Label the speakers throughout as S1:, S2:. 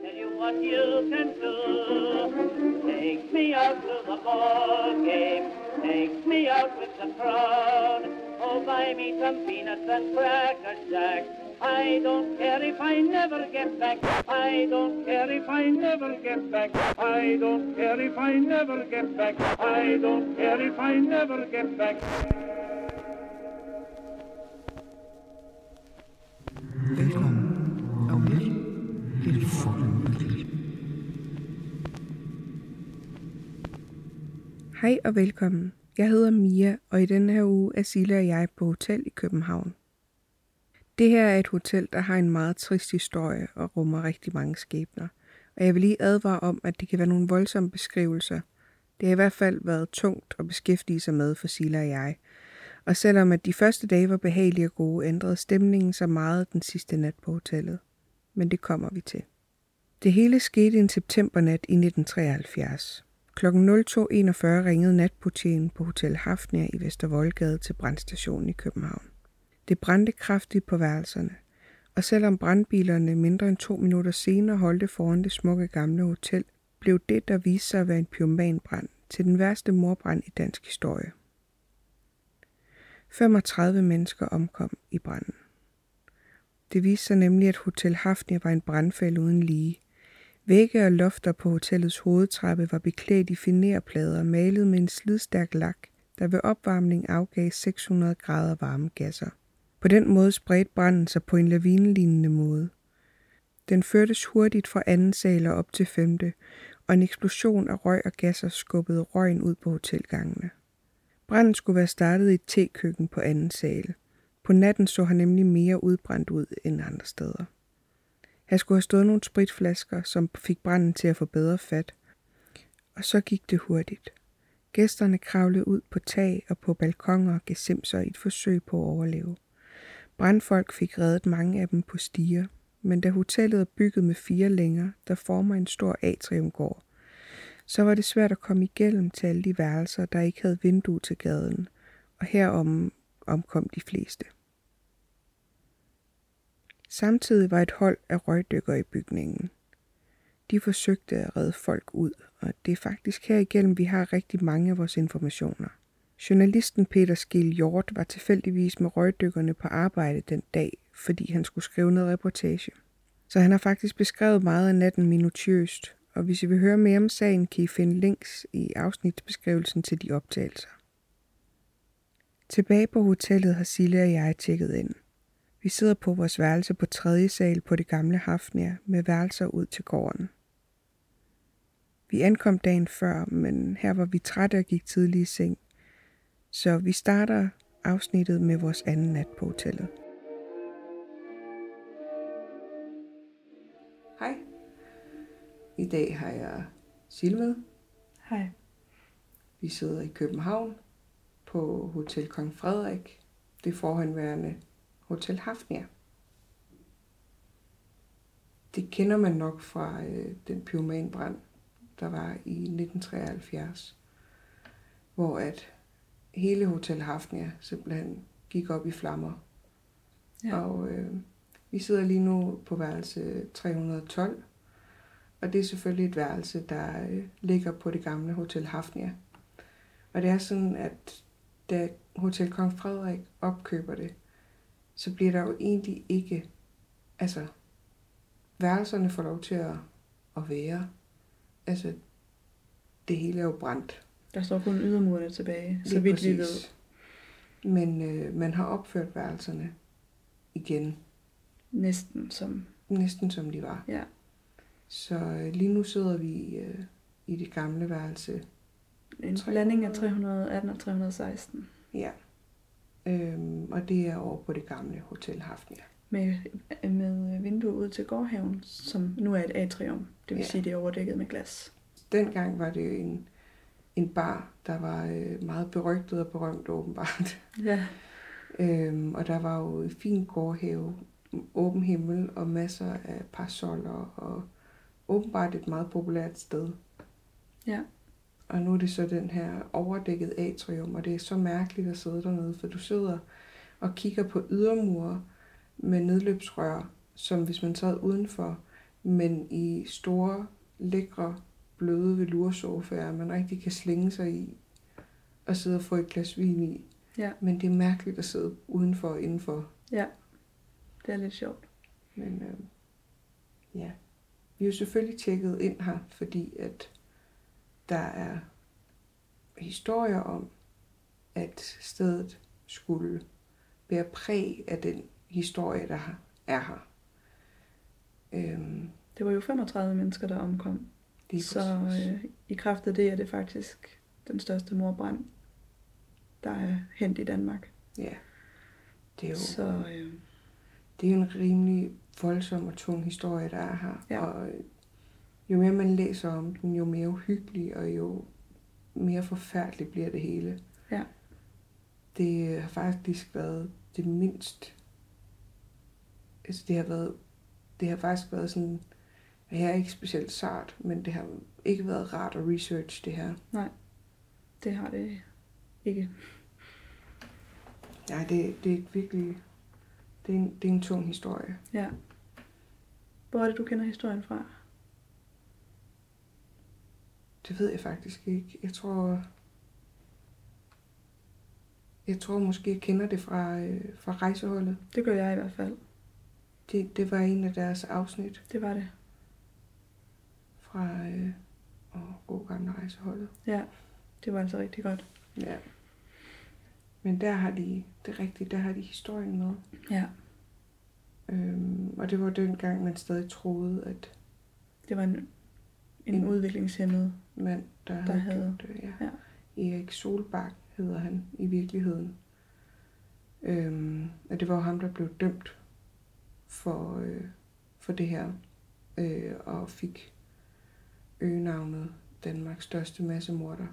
S1: what you can do. Take me out to the ball game. Take me out with the crowd. Oh, buy me some peanuts and cracker jack. I don't care if I never get back. I don't care if I never get back. I don't care if I never get back. I don't care if I never get back.
S2: Velkommen og velkommen til Folkemødet.
S3: Hej og velkommen. Jeg hedder Mia, og i denne her uge er Silla og jeg på hotel i København. Det her er et hotel, der har en meget trist historie og rummer rigtig mange skæbner. Og jeg vil lige advare om, at det kan være nogle voldsomme beskrivelser. Det har i hvert fald været tungt at beskæftige sig med for Silla og jeg. Og selvom at de første dage var behagelige og gode, ændrede stemningen sig meget den sidste nat på hotellet. Men det kommer vi til. Det hele skete en septembernat i 1973. Kl. 02.41 ringede natbutikken på Hotel Hafnia i Vestervoldgade til brandstationen i København. Det brændte kraftigt på værelserne, og selvom brandbilerne mindre end to minutter senere holdte foran det smukke gamle hotel, blev det, der viste sig at være en pyromanbrand, til den værste morbrand i dansk historie. 35 mennesker omkom i branden. Det viste sig nemlig, at Hotel Hafnia var en brandfælde uden lige. Vægge og lofter på hotellets hovedtrappe var beklædt i finerplader malet med en slidstærk lak, der ved opvarmning afgav 600 grader varme gasser. På den måde spredte branden sig på en lavinelignende måde. Den førtes hurtigt fra anden sal og op til femte, og en eksplosion af røg og gasser skubbede røgen ud på hotelgangene. Branden skulle være startet i et tekøkken på anden sal. På natten så han nemlig mere udbrændt ud end andre steder. Han skulle have stået nogle spritflasker, som fik branden til at få bedre fat. Og så gik det hurtigt. Gæsterne kravlede ud på tag og på balkonger og gav simser i et forsøg på at overleve. Brandfolk fik reddet mange af dem på stiger, men da hotellet er bygget med fire længer, der former en stor atriumgård, så var det svært at komme igennem til alle de værelser, der ikke havde vindue til gaden, og herom omkom de fleste. Samtidig var et hold af røgdykker i bygningen. De forsøgte at redde folk ud, og det er faktisk herigennem, vi har rigtig mange af vores informationer. Journalisten Peter Skil Hjort var tilfældigvis med røgdykkerne på arbejde den dag, fordi han skulle skrive noget reportage. Så han har faktisk beskrevet meget af natten minutiøst, og hvis I vil høre mere om sagen, kan I finde links i afsnitsbeskrivelsen til de optagelser. Tilbage på hotellet har Silja og jeg tjekket ind. Vi sidder på vores værelse på tredje sal på det gamle Hafnia med værelser ud til gården. Vi ankom dagen før, men her var vi trætte og gik tidlig i seng. Så vi starter afsnittet med vores anden nat på hotellet. Hej. I dag har jeg Silje med.
S4: Hej.
S3: Vi sidder i København på Hotel Kong Frederik, det forhenværende Hotel Hafnia. Det kender man nok fra øh, den pyromanbrand, der var i 1973, hvor at hele Hotel Hafnia simpelthen gik op i flammer.
S4: Ja.
S3: Ja. Og øh, vi sidder lige nu på værelse 312, og det er selvfølgelig et værelse, der øh, ligger på det gamle Hotel Hafnia. Og det er sådan, at da Hotel Kong Frederik opkøber det, så bliver der jo egentlig ikke, altså, værelserne får lov til at, at være. Altså, det hele er jo brændt.
S4: Der står kun ydermurene tilbage, så
S3: Lige
S4: vidt vi ved.
S3: præcis. Men øh, man har opført værelserne igen,
S4: Næsten som...
S3: næsten som de var.
S4: Ja.
S3: Så øh, lige nu sidder vi øh, i det gamle værelse.
S4: En
S3: 300.
S4: blanding af 318 og 316.
S3: Ja. Øhm, og det er over på det gamle Hotel Hafnia.
S4: Med, øh, med vinduet ud til gårdhaven, som nu er et atrium. Det vil
S3: Ja.
S4: ja. sige, det er overdækket med glas.
S3: Dengang var det jo en, en bar, der var øh, meget berygtet og berømt åbenbart.
S4: Ja.
S3: Øhm, og der var jo en fin gårdhave, åben himmel og masser af parasoller og åbenbart et meget populært sted.
S4: Ja.
S3: Og nu er det så den her overdækket atrium, og det er så mærkeligt at sidde dernede, for du sidder og kigger på ydermure med nedløbsrør, som hvis man sad udenfor, men i store, lækre, bløde velursofaer, man rigtig kan slænge sig i og sidde og få et glas vin i.
S4: Ja.
S3: Men det er mærkeligt at sidde udenfor og indenfor.
S4: Det er lidt sjovt.
S3: Men øh, ja, vi er jo selvfølgelig tjekket ind her, fordi at der er historier om, at stedet skulle bære præg af den historie, der har- er her. Øhm,
S4: Det var jo 35 mennesker, der omkom.
S3: det er
S4: Så
S3: præcis.
S4: øh, i kraft af det er det faktisk den største morbrand, der er hent i Danmark.
S3: ja. Det er jo...
S4: Så øh,
S3: det er jo en rimelig voldsom og tung historie, der er her.
S4: Ja.
S3: Og øh, jo mere man læser om den, jo mere uhyggelig og jo mere forfærdeligt bliver det hele.
S4: Ja.
S3: Det øh, har faktisk været det mindst... Altså det har været... Det har faktisk været sådan... Jeg er ikke specielt sart, men det har ikke været rart at research det her.
S4: det har det ikke.
S3: Nej, det, det er virkelig... Det er, en, det er en tung historie.
S4: Ja. Hvor er det, du kender historien fra?
S3: Det ved jeg faktisk ikke. Jeg tror... Jeg tror måske, jeg kender det fra, øh, fra rejseholdet.
S4: Det gør jeg i hvert fald.
S3: Det, det var en af deres afsnit
S4: Det var det.
S3: fra øh, åh, god gamle rejseholdet.
S4: Ja, det var altså rigtig godt.
S3: Ja. Men der har de, det er rigtigt, der har de historien med.
S4: Ja,
S3: Øhm, og det var dengang, man stadig troede, at
S4: det var en, en
S3: En-
S4: udviklingshemmet.
S3: mand, der, der
S4: Der
S3: havde,
S4: havde-
S3: gjort det, ja.
S4: ja.
S3: Erik Solbak hedder han i virkeligheden. Øhm, og det var jo ham, der blev dømt for, øh, for det her, øh, og fik øgenavnet Danmarks største massemorder.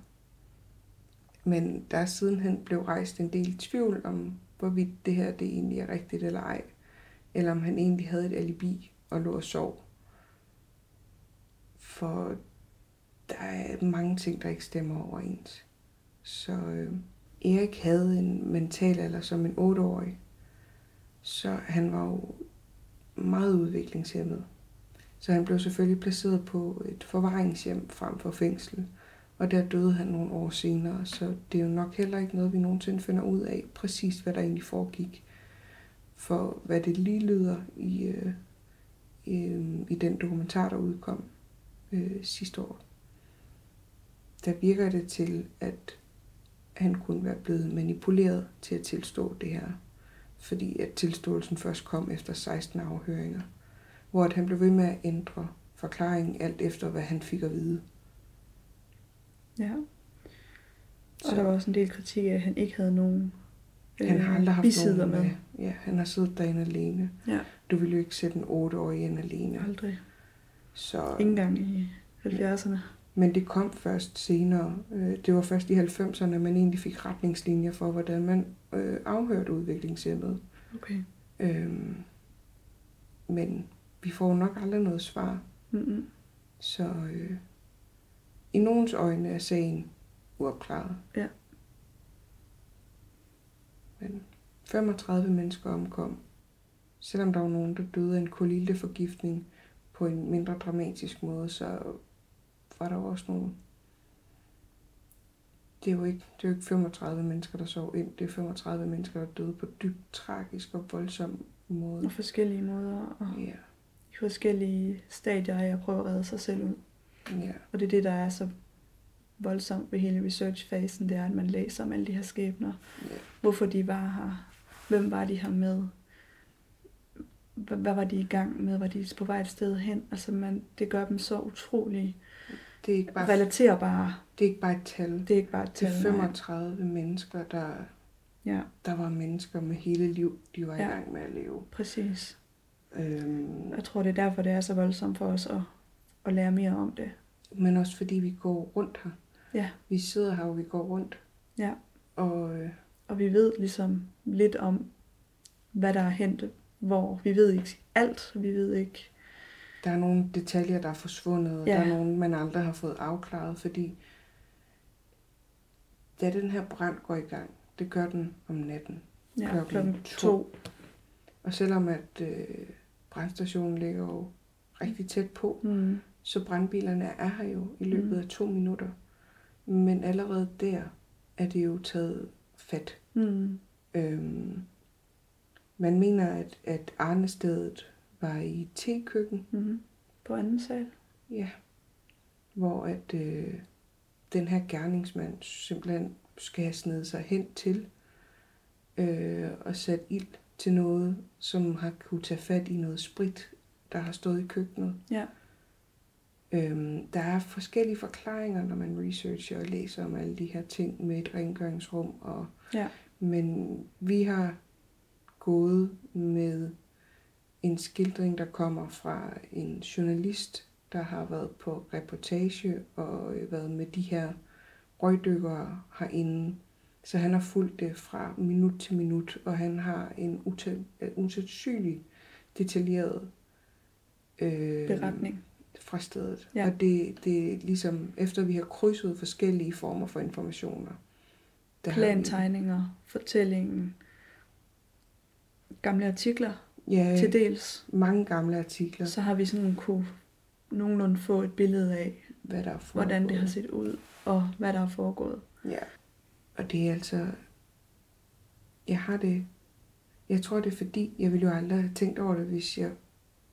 S3: Men der er sidenhen blev rejst en del tvivl om, hvorvidt det her det egentlig er rigtigt eller ej, eller om han egentlig havde et alibi og lå og sov. For der er mange ting, der ikke stemmer overens. Så øh, Erik havde en mental alder som en 8-årig, så han var jo meget udviklingshemmet. Så han blev selvfølgelig placeret på et forvaringshjem frem for fængsel, og der døde han nogle år senere, så det er jo nok heller ikke noget, vi nogensinde finder ud af, præcis hvad der egentlig foregik. For hvad det lige lyder i, øh, øh, i den dokumentar, der udkom øh, sidste år der virker det til, at han kunne være blevet manipuleret til at tilstå det her. Fordi at tilståelsen først kom efter 16 afhøringer. Hvor at han blev ved med at ændre forklaringen alt efter, hvad han fik at vide.
S4: Ja. Og
S3: Så-
S4: der var også en del kritik af, at han ikke havde nogen
S3: Han har aldrig haft
S4: bisider
S3: nogen
S4: Øh, med.
S3: med. Ja, han har siddet derinde alene.
S4: Ja.
S3: Du ville jo ikke sætte en 8-årig ind alene.
S4: Aldrig.
S3: Så,
S4: Ingen gang i 70'erne.
S3: men det kom først senere. Øh, Det var først i 90'erne, man egentlig fik retningslinjer for, hvordan man øh, afhørte udviklingshemmede.
S4: Okay.
S3: Øhm, men vi får nok aldrig noget svar,
S4: Mm-mm.
S3: så øh, i nogens øjne er sagen uopklaret.
S4: Ja.
S3: Men 35 mennesker omkom, selvom der var nogen, der døde af en kolildeforgiftning på en mindre dramatisk måde, så var der jo også nogle... Det er, jo ikke, det er jo ikke 35 mennesker, der sov ind. Det er 35 mennesker, der døde på dybt tragisk og voldsom måde.
S4: Og forskellige måder, og
S3: Ja,
S4: i forskellige stadier af at prøve at redde sig selv ud.
S3: ja,
S4: Og det er det, der er så voldsomt ved hele researchfasen, det er, at man læser om alle de her skæbner.
S3: Ja.
S4: Hvorfor de var her. Hvem var de her med? Hva- Hvad var de i gang med? Var de på vej et sted hen? Altså, man, det gør dem så utrolig
S3: det er ikke bare,
S4: relaterbare.
S3: det er ikke bare et tal.
S4: Det er ikke bare et
S3: Til
S4: tal, nej.
S3: 35 mennesker, der,
S4: Ja,
S3: der var mennesker med hele liv, de var ja.
S4: Ja.
S3: i gang med at leve.
S4: præcis.
S3: Øhm,
S4: Jeg tror, det er derfor, det er så voldsomt for os at, at lære mere om det.
S3: men også fordi vi går rundt her.
S4: Ja.
S3: Vi sidder her, og vi går rundt.
S4: Ja.
S3: Og øh,
S4: Og vi ved ligesom lidt om, hvad der er hent, hvor. Vi ved ikke alt. Vi ved ikke...
S3: der er nogle detaljer, der er forsvundet, og
S4: Ja.
S3: der er nogle, man aldrig har fået afklaret, fordi da den her brand går i gang, det gør den om natten.
S4: Ja,
S3: Klokken
S4: klokken
S3: to.
S4: to.
S3: Og selvom at øh, brandstationen ligger jo rigtig tæt på.
S4: Mm.
S3: Så brandbilerne er her jo i løbet af to minutter. Men allerede der er det jo taget fat.
S4: Mm.
S3: Øhm, man mener, at, at Arnestedet var i et tekøkken,
S4: Mm. På anden sal.
S3: Øh, ja, hvor at øh, den her gerningsmand simpelthen skal have snedet sig hen til øh, og sat ild til noget, som har kunne tage fat i noget sprit, der har stået i køkkenet.
S4: Ja.
S3: Øhm, der er forskellige forklaringer, når man researcher og læser om alle de her ting med et rengøringsrum. Og,
S4: Ja.
S3: Men vi har gået med en skildring, der kommer fra en journalist, der har været på reportage og øh, været med de her røgdykkere herinde. Så han har fulgt det fra minut til minut, og han har en uta- øh, usandsynlig detaljeret øh,
S4: Beretning.
S3: fra stedet.
S4: Ja.
S3: Ja. Og det, det er ligesom, efter vi har krydset forskellige former for informationer. der har vi-
S4: Plantegninger, fortællingen, gamle artikler
S3: Ja,
S4: til
S3: til det.
S4: dels.
S3: mange gamle artikler,
S4: Så har vi sådan kunne nogenlunde få et billede af,
S3: hvad der er foregået.
S4: hvordan det har set ud, og hvad der er foregået.
S3: Ja. Og det er altså... Jeg har det... Jeg tror, det er fordi, jeg ville jo aldrig have tænkt over det, hvis jeg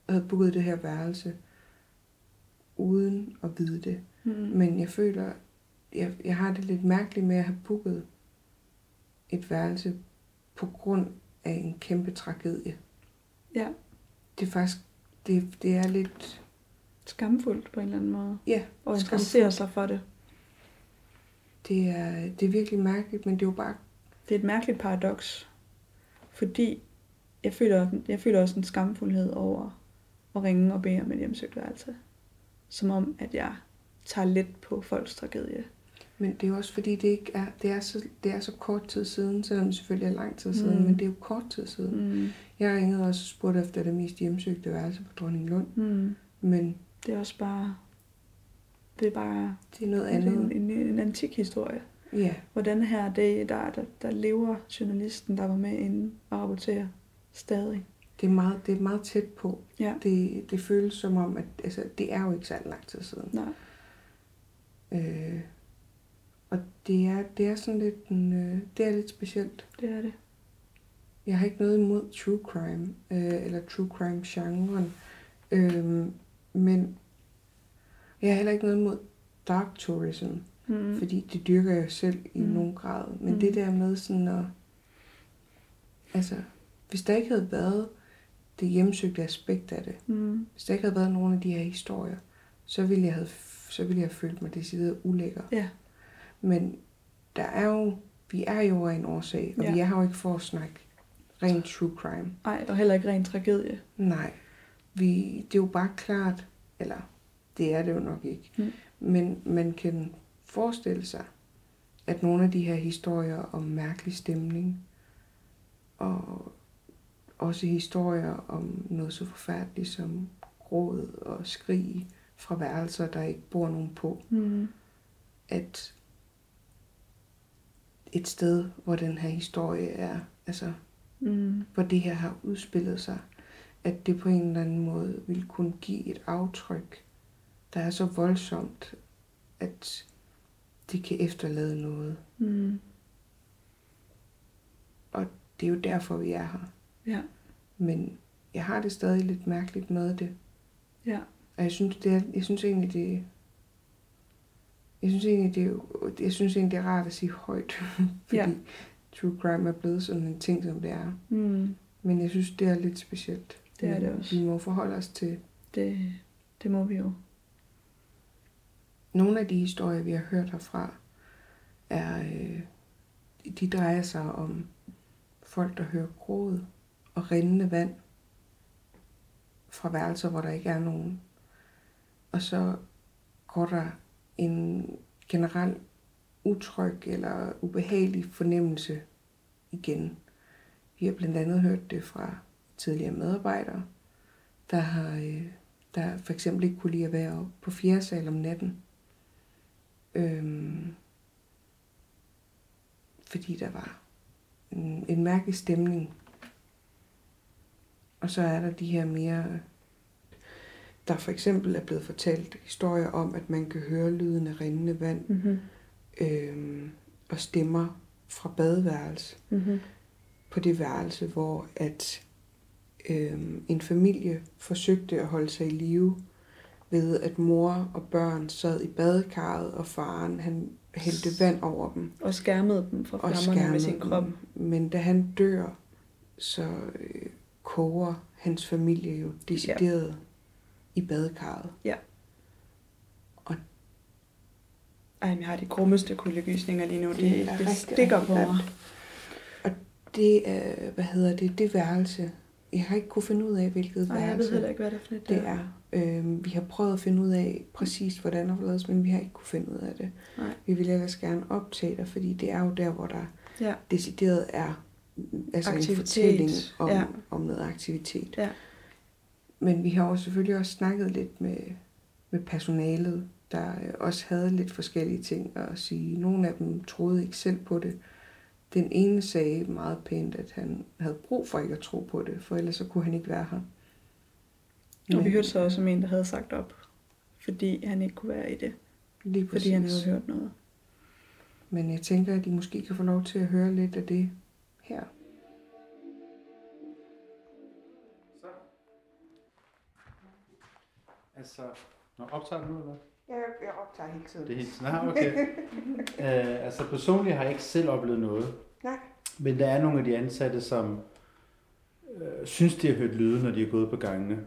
S3: havde booket det her værelse, uden at vide det.
S4: Mm.
S3: Men jeg føler, jeg, jeg har det lidt mærkeligt med at have booket et værelse på grund af en kæmpe tragedie.
S4: Ja.
S3: Det er faktisk, det, det er lidt,
S4: Skamfuldt på en eller anden måde.
S3: ja,
S4: Og
S3: Skamfuldt.
S4: interessere sig for det.
S3: det er, det er virkelig mærkeligt, men det er jo bare,
S4: Det er et mærkeligt paradoks, fordi jeg føler, jeg føler også en skamfuldhed over at ringe og bede om et hjemsøgt værelse. Som om, at jeg tager lidt på folks tragedie.
S3: men det er jo også fordi, det, ikke er, det, er så, det er så kort tid siden, selvom det selvfølgelig er lang tid siden,
S4: Mm.
S3: mm. men det er jo kort tid siden. Mm.
S4: Mm.
S3: Jeg ringede også og spurgte efter det mest hjemsøgte værelse på Dronninglund,
S4: Mm.
S3: men
S4: Det er også bare... Det er bare
S3: det er noget andet.
S4: en, en, en antik historie.
S3: Ja,
S4: Hvordan her dag, der, der, der lever journalisten, der var med inde og rapporterer stadig.
S3: det er meget, det er meget tæt på.
S4: Ja.
S3: Det, det føles som om, at altså, det er jo ikke særlig lang tid siden.
S4: Nej.
S3: Øh, og det er, det er sådan lidt, en, øh, det er lidt specielt.
S4: Det er det.
S3: Jeg har ikke noget imod true crime, øh, eller true crime-genren. Øh, men jeg har heller ikke noget imod dark tourism, mm.
S4: Mm.
S3: fordi det dyrker jeg jo selv i
S4: Mm.
S3: mm. nogen grad. Men
S4: Mm.
S3: mm. det der med sådan at... Altså, hvis der ikke havde været det hjemsøgte aspekt af det,
S4: Mm.
S3: hvis der ikke havde været nogen af de her historier, så ville jeg have, så ville jeg have følt mig decideret ulækker.
S4: Ja.
S3: Men der er jo, vi er jo af en årsag, og
S4: Ja.
S3: ja. vi er her jo ikke for at snakke rent true crime.
S4: Ej, og heller ikke ren tragedie.
S3: Nej, vi, det er jo bare klart, eller det er det jo nok ikke,
S4: Mm.
S3: men man kan forestille sig, at nogle af de her historier om mærkelig stemning, og også historier om noget så forfærdeligt som gråd og skrig fra værelser, der ikke bor nogen på,
S4: Mm.
S3: at et sted, hvor den her historie er, altså
S4: Mm.
S3: hvor det her har udspillet sig, at det på en eller anden måde ville kunne give et aftryk, der er så voldsomt, at det kan efterlade noget.
S4: Mm.
S3: Det er jo derfor, vi er her.
S4: Ja.
S3: Men jeg har det stadig lidt mærkeligt med det.
S4: Ja.
S3: Og jeg synes, det er, jeg synes egentlig, det jeg synes egentlig, det er, jeg synes egentlig, det er rart at sige højt, fordi
S4: Ja.
S3: ja. true crime er blevet sådan en ting, som det er.
S4: Mm.
S3: Men jeg synes, det er lidt specielt.
S4: Det er det
S3: Men
S4: også.
S3: Vi må forholde os til
S4: Det, det må vi jo.
S3: Nogle af de historier, vi har hørt herfra, er, øh, de drejer sig om folk, der hører gråd og rindende vand fra værelser, hvor der ikke er nogen. Og så går der en generel utryg eller ubehagelig fornemmelse igen. Vi har blandt andet hørt det fra tidligere medarbejdere, der har øh, der for eksempel ikke kunne lide at være oppe på fjerde sal om natten, Øhm, fordi der var en, en mærkelig stemning. Og så er der de her mere Der for eksempel er blevet fortalt historier om, at man kan høre lyden af rindende vand
S4: Mm-hmm.
S3: øh, og stemmer fra badeværelse
S4: Mm-hmm.
S3: på det værelse, hvor at øh, en familie forsøgte at holde sig i live ved, at mor og børn sad i badekarret, og faren han hældte vand over dem.
S4: Og skærmede dem fra
S3: og
S4: flammerne med sin
S3: skærmet
S4: krop.
S3: dem. Men da han dør, så øh, koger hans familie jo decideret ja. i badekarret.
S4: Ej, men jeg har de grummeste kuldegysninger lige nu. Det,
S3: Det
S4: det,
S3: er
S4: det
S3: rigtig,
S4: stikker
S3: rigtig
S4: på mig.
S3: Det er, hvad hedder det, det værelse. Jeg har ikke kunne finde ud af, hvilket
S4: Nej, jeg ved
S3: værelse
S4: heller ikke, hvad det er for et
S3: det er. Øhm, vi har prøvet at finde ud af præcis, hvordan og forledes, men vi har ikke kunne finde ud af det.
S4: Nej.
S3: Vi vil ellers gerne optage dig, fordi det er jo der, hvor der
S4: Ja.
S3: decideret er mm, altså en
S4: Aktivitet.
S3: fortælling om,
S4: Ja.
S3: om noget aktivitet.
S4: Ja.
S3: Men vi har jo selvfølgelig også snakket lidt med, med personalet, der øh, også havde lidt forskellige ting at sige. Nogle af dem troede ikke selv på det. Den ene sagde meget pænt, at han havde brug for ikke at tro på det, for ellers så kunne han ikke være her.
S4: Og vi hørte så også om en, der havde sagt op, fordi han ikke kunne være i det.
S3: lige
S4: Fordi han havde hørt noget.
S3: Men jeg tænker, at I måske kan få lov til at høre lidt af det her.
S5: Så. Altså, når optager du nu, eller? hvad?
S3: Jeg, jeg optager hele tiden.
S5: Det er helt snart, okay. øh, altså personligt har jeg ikke selv oplevet noget.
S3: Nej.
S5: Men der er nogle af de ansatte, som øh, synes, de har hørt lyde, når de er gået på gangene.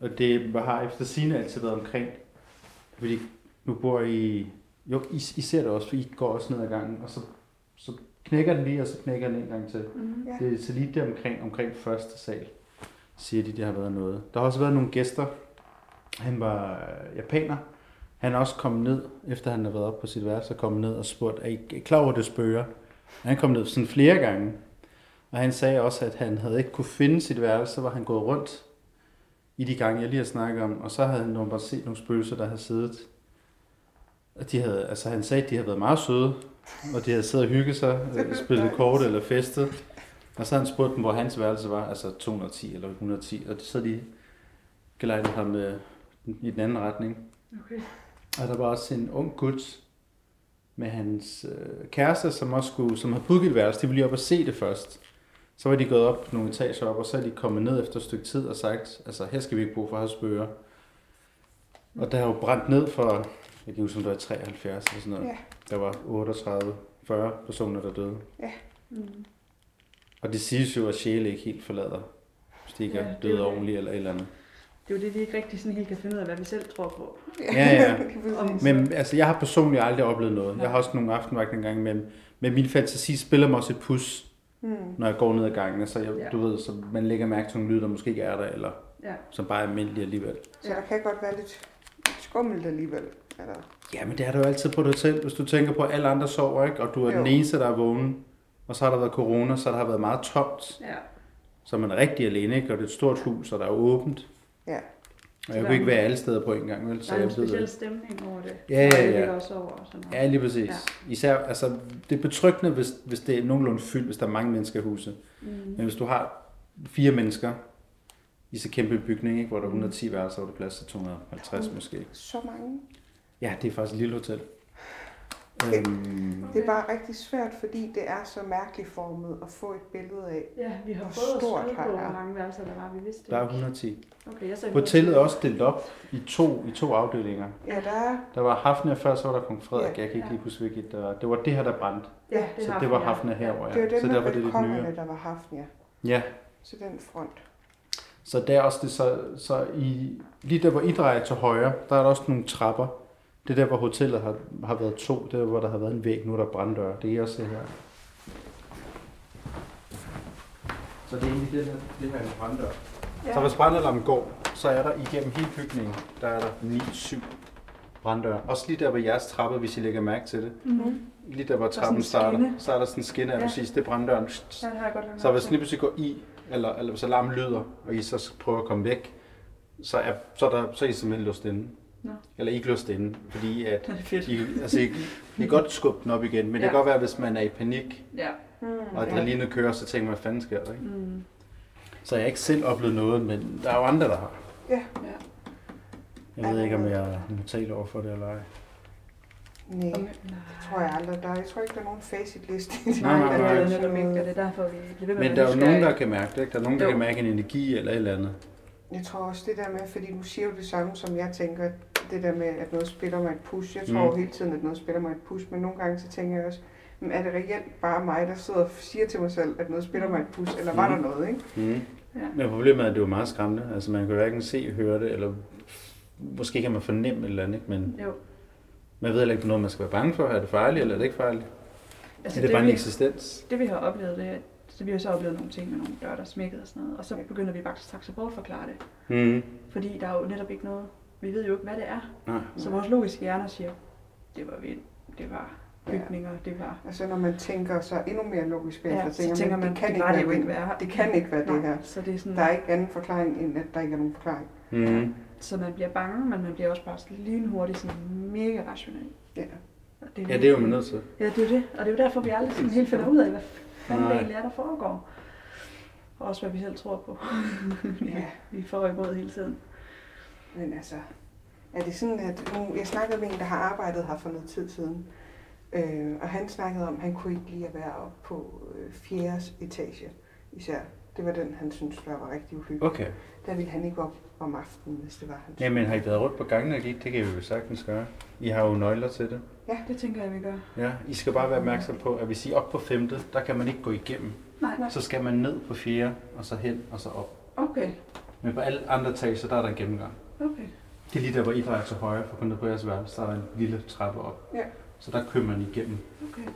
S5: Og det har efter sine altid været omkring. Fordi nu bor I... Jo, I, I ser det også, for I går også ned ad gangen, og så, så knækker den lige, og så knækker den en gang til.
S4: Mm-hmm.
S3: Ja.
S5: Det er så lige der omkring, omkring første sal, siger de, det har været noget. Der har også været nogle gæster. Han var øh, japaner. Han er også kommet ned, efter han har været oppe på sit værelse, og kommet ned og spurgt, er I klar over, det spøger? Og han kom ned sådan flere gange. Og han sagde også, at han havde ikke kunne finde sit værelse, så var han gået rundt i de gange, jeg lige har snakket om. Og så havde han bare set nogle spøgelser, der havde siddet. Og de havde, altså han sagde, at de havde været meget søde, og de havde siddet og hygget sig, øh, spillet kort eller festet. Og så havde han spurgt dem, hvor hans værelse var, altså 210 eller 110, og så havde de gelejtet ham øh, i den anden retning.
S4: Okay.
S5: Og der var også en ung gut med hans øh, kæreste, som også skulle, som havde pudgivet værelse. De ville lige op og se det først. Så var de gået op nogle etager op, og så er de kommet ned efter et stykke tid og sagt, altså her skal vi ikke bruge for at spøger. Og der er jo brændt ned for, jeg kan ikke huske, om det var 73 eller sådan noget.
S3: Ja.
S5: Der var 38, 40 personer, der døde.
S4: Mm.
S5: Og det siges jo, at sjæle ikke helt forlader. Hvis de ikke
S4: Ja,
S5: er
S4: det er jo
S5: døde
S4: det.
S5: ordentligt eller et eller andet.
S4: Det er jo det, vi ikke rigtig sådan helt kan finde ud af, hvad vi selv tror på.
S5: Ja, ja.
S4: Om-
S5: Men altså, jeg har personligt aldrig oplevet noget. Jeg har også nogle aftenvagter engang imellem. Men min fantasi spiller mig også et pus,
S3: Mm.
S5: når jeg går ned ad gangen. Så jeg,
S4: Ja.
S5: du ved, så man lægger mærke til nogle lyde, der måske ikke er der, eller
S4: Ja.
S5: som bare er almindelige alligevel.
S3: Så der kan godt være lidt lidt skummelt alligevel. Eller,
S5: Ja, men det er der jo altid på et hotel, hvis du tænker på, at alle andre sover, ikke? Og du er
S3: Jo.
S5: den eneste, der er vågen. Og så har der været corona, så der har været meget tomt.
S4: Ja.
S5: Så er man rigtig alene, ikke? Og det er et stort hus, og der er åbent.
S3: ja.
S5: Og jeg kunne ikke være alle steder på en gang, vel?
S4: Der er en
S5: jeg ved det.
S4: speciel stemning over det.
S5: Ja,
S4: Og
S5: ja,
S4: det
S5: ja.
S4: ligger også over. og Sådan noget.
S5: Ja, lige præcis. Ja. Især, altså, det er betryggende, hvis, hvis det er nogenlunde fyldt, hvis der er mange mennesker i huset.
S4: Mm.
S5: Men hvis du har fire mennesker i så kæmpe en bygning, ikke, hvor der er 110 værelser, hvor der er plads til 250 måske.
S3: Så mange.
S5: Ja, det er faktisk et lille hotel. Øhm,
S3: Det er bare rigtig svært, fordi det er så mærkeligt formet at få et billede af.
S4: Ja, vi har
S3: Hvor
S4: prøvet at
S3: stort
S4: skrive
S3: har
S4: på,
S3: jeg?
S4: hvor mange værelser der var. Vi vidste
S5: der er
S4: ikke.
S5: 110.
S4: Okay, jeg sagde
S5: Hotellet er også delt op i to, i to afdelinger.
S3: Ja, der er...
S5: Der var Hafnia før, så var der Kong Frederik. Jeg kan ikke
S4: Ja.
S5: lige huske, hvilket der var. Det var det her, der brændte.
S4: Ja, det
S5: Så
S4: har
S5: det var
S4: vi, ja.
S5: Hafnia herover,
S3: Det var
S5: ja.
S3: dem
S5: Så
S3: med
S5: derfor er det lidt nyere.
S3: balkonerne, der var Hafnia.
S5: Ja,
S3: Så den front.
S5: Så der er også det, så, så i, lige der, hvor I drejer til højre, der er der også nogle trapper. Det er der, hvor hotellet har, har været to, det er der, hvor der har været en væg, nu er der branddøre. Det er I også se her. Så det er egentlig det her, det her er en branddør. Ja. Så hvis brandalarmen går, så er der igennem hele bygningen, der er der 9-7 branddøre. Også lige der, hvor jeres trappe, hvis I lægger mærke til det.
S4: Mhm.
S5: Lige der, hvor
S4: sådan en
S5: trappen starter,
S4: skinne.
S5: så er der sådan en skinne af
S4: Ja.
S5: ja. præcis, det er branddøren.
S4: Ja, det har jeg godt hørt.
S5: Så hvis lige pludselig går i, eller, eller hvis alarmen lyder, og I så prøver at komme væk, så er, så er, der, så er I simpelthen låst inde.
S4: Nå.
S5: Eller ikke låst inde, fordi at
S4: Det er fedt.
S5: I, altså, I, I kan godt skubbe den op igen, men ja. det
S4: Ja.
S5: kan godt være, hvis man er i panik,
S4: Ja.
S3: Mm.
S5: og adrenalinet kører, så tænker man, hvad fanden sker der, ikke?
S4: Mm.
S5: Så jeg har ikke selv oplevet noget, men der er jo andre, der har.
S3: Ja.
S4: Ja.
S5: Jeg ved ikke, om jeg må tale over for det eller ej.
S3: Nej,
S4: Om-
S3: det tror jeg aldrig. Der, er- jeg tror ikke, der er nogen facitliste. i det.
S5: Nej, nej,
S4: Nej, det
S5: nej.
S4: er
S3: Mm.
S4: det netop ikke, og det er derfor, vi bliver ved med
S5: Men
S4: at
S5: der er
S4: være
S5: jo nogen, der
S4: nysgerrige.
S5: kan mærke det. Ikke? Der er nogen, der
S4: Jo.
S5: kan mærke en energi eller et eller andet.
S3: Jeg tror også det der med, fordi du siger jo det samme, som jeg tænker, det der med, at noget spiller mig et push. Jeg tror
S5: Mm.
S3: mm. hele tiden, at noget spiller mig et push, men nogle gange så tænker jeg også, "Men er det reelt bare mig, der sidder og siger til mig selv, at noget spiller mig et push, eller var der
S5: Mm.
S3: noget, ikke?
S5: Mm.
S4: Ja.
S5: Men problemet er, at det er jo meget skræmmende. Altså, man kan jo hverken se, høre det, eller måske kan man fornemme et eller andet, ikke? men
S4: Jo,
S5: man ved heller ikke, noget man skal være bange for. Er det farligt, eller er det ikke farligt? Altså, er det, det bare en
S4: vi,
S5: eksistens?
S4: det vi har oplevet, det er, at så vi har så oplevet nogle ting med nogle døre, der smækkede og sådan noget, og så begynder vi faktisk straks at bortforklare det,
S5: Mm.
S4: fordi der er jo netop ikke noget, vi ved jo ikke, hvad det er.
S5: Nej.
S4: Så vores logiske hjerner siger, det var vind, det var bygninger, det var...
S3: Og så Altså, når man tænker så endnu mere logisk bagefter,
S4: Ja, så tænker man,
S3: det kan
S4: det
S3: ikke
S4: var det jo
S3: være
S4: ikke
S3: det.
S4: være.
S3: Det kan ikke være det
S4: Nej,
S3: her.
S4: Så det er sådan,
S3: Der er ikke anden forklaring, end at der ikke er nogen forklaring.
S5: Mm.
S4: så man bliver bange, men man bliver også bare sådan lynhurtigt sådan mega rationel.
S3: Ja.
S4: Og
S5: Ja, det er jo man nødt til.
S4: Ja, det er jo det. Og det er jo derfor, vi aldrig sådan helt finder ud af, hvad fanden det
S5: Nej.
S4: egentlig er, der foregår. Og også, hvad vi selv tror på.
S3: ja.
S4: vi får imod hele tiden.
S3: Men altså, er det sådan, at nu, jeg snakkede med en, der har arbejdet her for noget tid siden, øh, og han snakkede om, at han kunne ikke lide at være oppe på øh, fjerde etage især. Det var den, han syntes, der var rigtig uhyggeligt.
S5: Okay.
S3: Der ville han ikke op om aftenen, hvis det var han.
S5: Jamen, har I været rundt på gangen og gik? Det kan I jo sagtens gøre. I har jo nøgler til det.
S4: Det tænker jeg, vi gør.
S5: Ja, I skal bare være opmærksom på, at hvis I er op på femte, der kan man ikke gå igennem.
S4: Nej, nej.
S5: Så skal man ned på fjerde, og så hen, og så op.
S4: Okay,
S5: Men på alle andre etager, der er der en gennemgang.
S4: okay.
S5: Det er lige der, hvor I drejer til højre, for kun ned på jeres værelse, der er der en lille trappe op.
S3: Ja.
S5: Så der kører man igennem.
S3: er der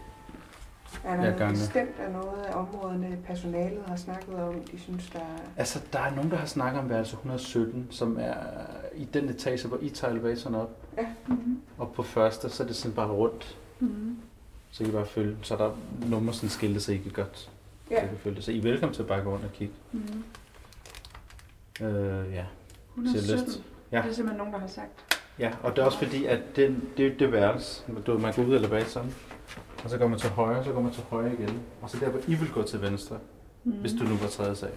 S5: jeg er
S3: noget
S5: gange.
S3: bestemt af noget af områderne, personalet har snakket om, de synes, der er...
S5: Altså, der er nogen, der har snakket om værelse 117, som er i den etage, hvor I tager elevatoren op.
S4: Mm-hmm.
S5: Og på første, så er det sådan bare rundt.
S4: Mm-hmm.
S5: Så I kan bare følge. Så er der nummer sådan skilte, så I kan godt
S3: Ja.
S5: så I kan følge det. Så I er velkommen til at bare gå rundt og kigge.
S4: Mm-hmm.
S5: Øh, ja. lyst.
S4: 117.
S5: Ja.
S4: Ja. Det er simpelthen nogen, der har sagt.
S5: Ja, og det er også fordi, at den, det, er det værelse, du ved, man går ud eller bag sammen, og så går man til højre, så går man til højre igen, og så der, hvor I vil gå til venstre, mm.
S4: Mm.
S5: hvis du nu var tredje sag,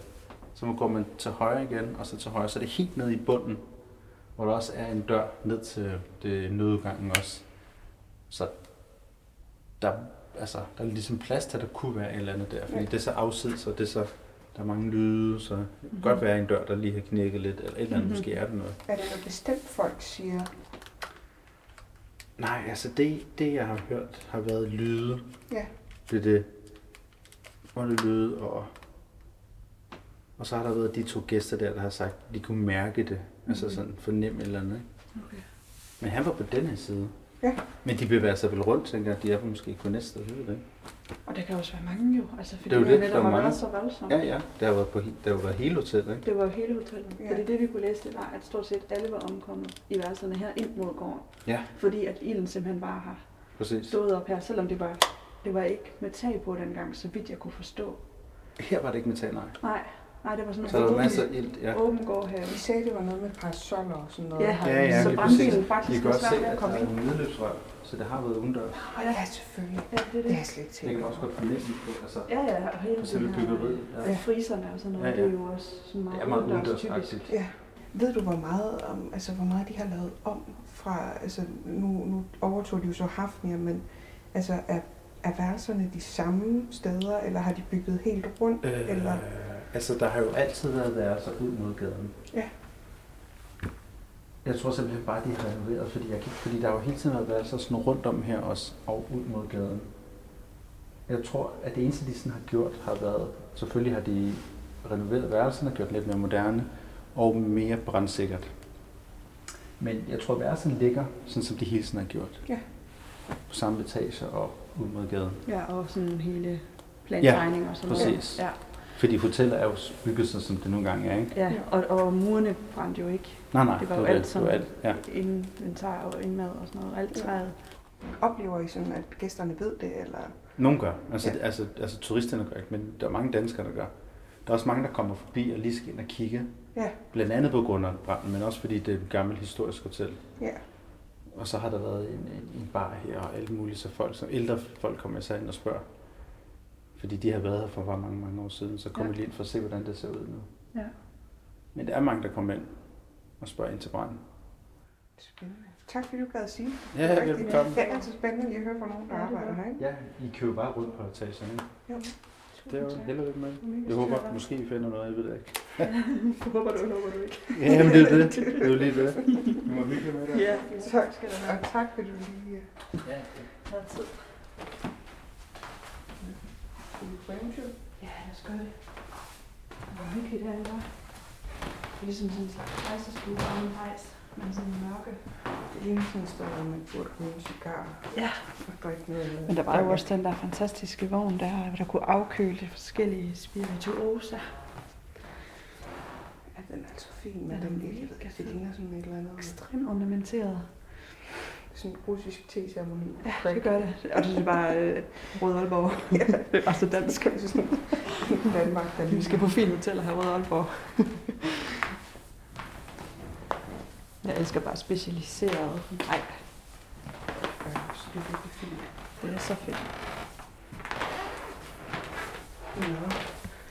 S5: så man går man til højre igen, og så til højre, så er det helt nede i bunden, hvor der også er en dør ned til øh, det nødudgangen også. Så der, altså, der er ligesom plads til, at der kunne være et eller andet der, fordi
S3: Ja.
S5: det er så afsides, og det er så, der er mange lyde, så det kan godt være en dør, der lige har knækket lidt, eller et eller andet,
S4: Mhm.
S5: mm-hmm. måske er der noget.
S3: Er det noget bestemt, folk siger?
S5: Nej, altså det, det jeg har hørt har været lyde.
S3: Ja.
S5: Det er det. Og det lyde, og, og så har der været de to gæster der, der har sagt, at de kunne mærke det. Altså sådan fornemme et eller andet. Ikke?
S4: Mm-hmm. Okay.
S5: Men han var på den her side.
S3: Ja.
S5: Men de bevæger sig vel rundt, tænker jeg. De er på måske kun næste eller det. ikke?
S4: Og der kan også være mange jo, altså fordi
S5: Det er jo
S4: man
S5: det, der
S4: netop
S5: er
S4: har
S5: mange.
S4: været så voldsomt.
S5: Ja, ja. Det har været, på, he- det har jo været hele hotellet, ikke?
S4: Det var jo hele hotellet.
S3: Ja.
S4: Ja. Fordi det vi kunne læse, det var, at stort set alle var omkommet i værelserne her ind mod gården.
S5: Ja.
S4: Fordi at ilden simpelthen bare har
S5: Præcis.
S4: stået op her, selvom det var, det var ikke med tag på dengang, så vidt jeg kunne forstå.
S5: Her var det ikke metal, nej.
S4: Nej, nej, det var sådan
S5: Så der var masser af
S4: åben,
S5: ild, ja.
S4: åben gårdhave.
S3: De sagde, det var noget med parasoller og sådan noget.
S4: Ja.
S5: Ja, ja,
S4: Så
S5: lige præcis.
S4: brandbilen
S5: I
S4: faktisk
S5: kan
S4: var
S5: godt se,
S4: svært ved
S5: at
S4: at
S5: der
S4: komme
S5: er
S4: ind.
S5: en udløbsrør, så det har været udendørs.
S3: Åh, ja, selvfølgelig.
S4: Ja, det er
S3: Det har
S4: det.
S3: jeg slet ikke
S5: Jeg
S3: tænkt
S5: kan også
S3: over.
S5: godt fornemme det, altså
S4: Ja, ja, og hele
S5: på selve byggeriet. Ja.
S4: Ja. Friserne og sådan noget,
S5: Ja,
S4: ja,
S5: ja.
S4: ja. det er jo også sådan meget,
S5: Det er meget
S4: udendørs
S5: udendørsagtigt.
S3: Ja. Ved du, hvor meget, om, altså, hvor meget de har lavet om fra... Altså, nu, nu overtog de jo så Hafnia, men altså, er, er værelserne de samme steder, eller har de bygget helt rundt?
S5: Øh,
S3: Eller-
S5: Altså, der har jo altid været værelser ud mod gaden.
S3: Ja.
S5: Jeg tror simpelthen bare, de har renoveret, fordi, jeg, kan- fordi der har jo hele tiden været værelser sådan rundt om her også, og ud mod gaden. Jeg tror, at det eneste, de sådan har gjort, har været... Selvfølgelig har de renoveret værelserne, gjort dem lidt mere moderne og mere brandsikkert. Men jeg tror, at værelserne ligger, sådan som de hele tiden har gjort.
S3: Ja.
S5: På samme etage og ud mod gaden.
S4: Ja, og sådan hele plantegning og sådan
S5: præcis.
S4: noget.
S5: Fordi hoteller er jo bygget sig, som det nogle gange er, ikke?
S4: Ja, ja. Og, og murene brændte jo ikke
S5: Nej, nej,
S4: Det var jo alt
S5: det var
S4: sådan.
S5: alt. Ja.
S4: inventar og indmad og sådan noget, alt
S3: Ja.
S4: træet.
S3: Oplever I sådan, at gæsterne ved det, eller...
S5: Nogle gør. Altså,
S3: Ja.
S5: ja. altså, altså turisterne gør ikke, men der er mange danskere, der gør. Der er også mange, der kommer forbi og lige skal ind og kigge.
S3: Ja.
S5: Blandt andet på grund af branden, men også fordi det er et gammelt historisk hotel.
S3: Ja.
S5: Og så har der været en, en, en bar her og alt muligt, så folk, som ældre folk kommer især ind og spørger. Fordi de har været her for bare mange, mange år siden, så kommer
S4: Ja.
S5: ja. lige ind for at se, hvordan det ser ud nu.
S4: Ja.
S5: Men der er mange, der kommer ind og spørger ind til branden.
S3: Spændende. Tak fordi du gad at sige.
S5: Ja,
S3: det. er rigtig-
S5: velbekomme.
S3: Det er altid spændende lige at høre fra nogen, der arbejder her. Ikke?
S5: Ja, I kører bare rundt på etagen. ikke?
S3: Jo.
S5: Det er jo
S3: Tusind tak.
S5: held og lykke med. det.
S3: Mega
S5: Jeg håber,
S3: stort.
S5: måske I finder noget, jeg ved det ikke.
S6: Håber du, håber du ikke.
S5: Jamen, det er det. Det er jo lige det. Du må hygge med det.
S6: Ja,
S3: Tak skal du have. Og tak fordi du lige øh,
S5: Ja.
S6: har tid.
S3: tog på eventyr.
S4: Ja, lad os gøre det. Hvor hyggeligt det er, ikke? hva'? Det er ligesom sådan en slags rejsestue og en rejs, men sådan en mørke.
S3: Det ligner sådan et sted, hvor man burde ryge en cigar
S4: Ja.
S3: og drikke noget.
S4: Men der var jo også den der fantastiske vogn der, der kunne afkøle de forskellige spirituoser.
S3: Ja, den er så fin, men
S4: Den er
S3: den,
S4: mega
S3: den det ligner sådan et eller andet øh,
S4: Ekstremt ornamenteret.
S3: sådan en russisk te-ceremoni.
S4: Ja, det gør det. Og det er bare øh, Røde Aalborg. det er bare så dansk.
S3: Det er sådan i Danmark, der
S4: Vi
S3: lige
S4: skal på fint hotel og have Røde Aalborg. Jeg elsker bare specialiseret. Nej,
S3: Ja, så det er virkelig fint.
S4: det er så fedt.
S3: Nå.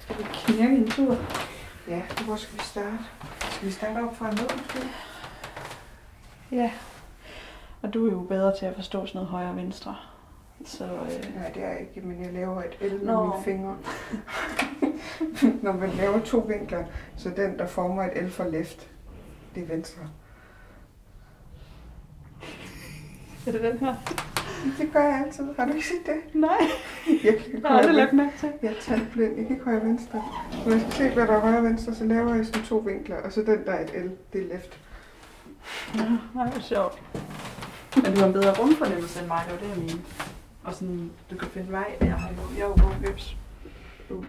S4: Skal vi knirke en tur?
S3: Ja, hvor skal vi starte? Skal vi starte op fra ned, måske?
S4: Ja. Og du er jo bedre til at forstå sådan noget højre og venstre. Så øh,
S3: Nej, det er jeg ikke, men jeg laver et L med
S4: Nå.
S3: mine fingre. Når man laver to vinkler, så den, der former et L for left, det er venstre.
S4: er det den her?
S3: Det gør jeg altid. Har du ikke set det?
S4: Nej,
S3: Jeg kan
S4: jeg har aldrig lagt mærke til.
S3: Jeg er tandblind. Jeg kan ikke højre og venstre. Når jeg skal se, hvad der er højre og venstre, så laver jeg sådan to vinkler, og så den, der er et L, det er left.
S4: Nå, Nej, hvor sjovt. Men du har en bedre rumfornemmelse end mig, det var det, jeg mente. Og sådan, du kan finde vej. Jeg har jo, jeg er jo rumvips.
S3: Uh, uh.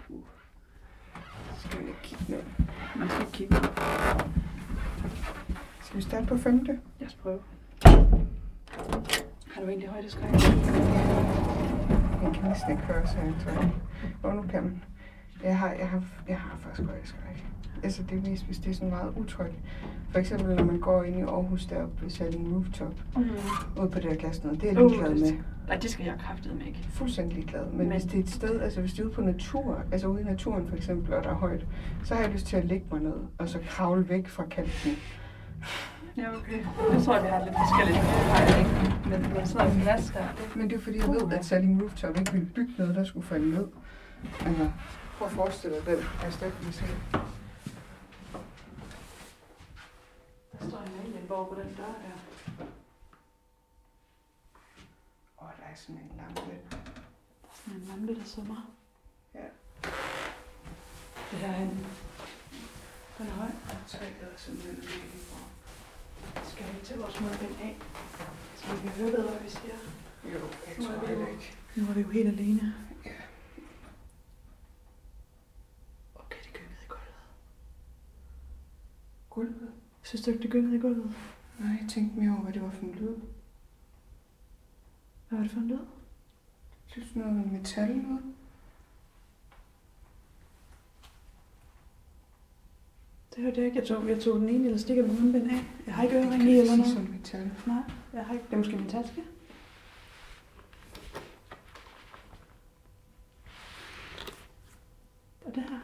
S3: Så skal man ikke kigge ned.
S4: Man skal ikke kigge.
S3: Skal vi starte på femte?
S4: Jeg skal prøve. Har du egentlig højdeskræk?
S3: Jeg kan næsten ikke høre, så jeg tror jeg. Og nu kan man. Jeg har, jeg har, jeg har faktisk højdeskræk. Altså det er mest, hvis det er sådan meget utrygt. For eksempel, når man går ind i Aarhus deroppe ved Salling Rooftop,
S4: Mm.
S3: ude på det der glas noget, det er jeg
S4: Uh,
S3: ligeglad med.
S4: Nej, det skal jeg kraftedeme ikke.
S3: Fuldstændig ligeglad. Men, Men
S4: Men-
S3: hvis det er et sted, altså hvis det er ude på natur, altså ude i naturen for eksempel, og der er højt, så har jeg lyst til at lægge mig ned, og så kravle væk fra kanten.
S4: Ja, okay. Jeg tror, vi har lidt forskellige højder, ikke? Men, men sådan en plads der, det
S3: Men det er fordi, jeg ved, at Salling Rooftop ikke ville bygge noget, der skulle falde ned. Altså, prøv at forestille dig den erstatning selv.
S4: Der står en alienborg på den dør der.
S3: Åh, der er sådan en lampe.
S4: Der er sådan en lampe, der summer.
S3: Ja.
S4: Det her er en... Den er høj.
S3: Træet er simpelthen virkelig bra.
S4: Skal vi til vores mundbind af? Skal vi høre bedre, hvad vi siger?
S3: Jo, jeg tror heller ikke.
S4: Nu er vi jo helt alene. Okay, det gyngede i gulvet.
S3: Gulvet?
S4: Synes du ikke, det gyngede i gulvet?
S3: Nej, jeg tænkte mere over, hvad det var for en lyd.
S4: Hvad var det for en lyd?
S3: Jeg synes, noget med metal ud.
S4: Det hørte jeg ikke. Jeg tog, jeg tog den ene elastik af min mundbind af. Jeg har ikke ørering i eller noget.
S3: som metal.
S4: Nej, jeg har ikke. Det er måske min taske. Og det her.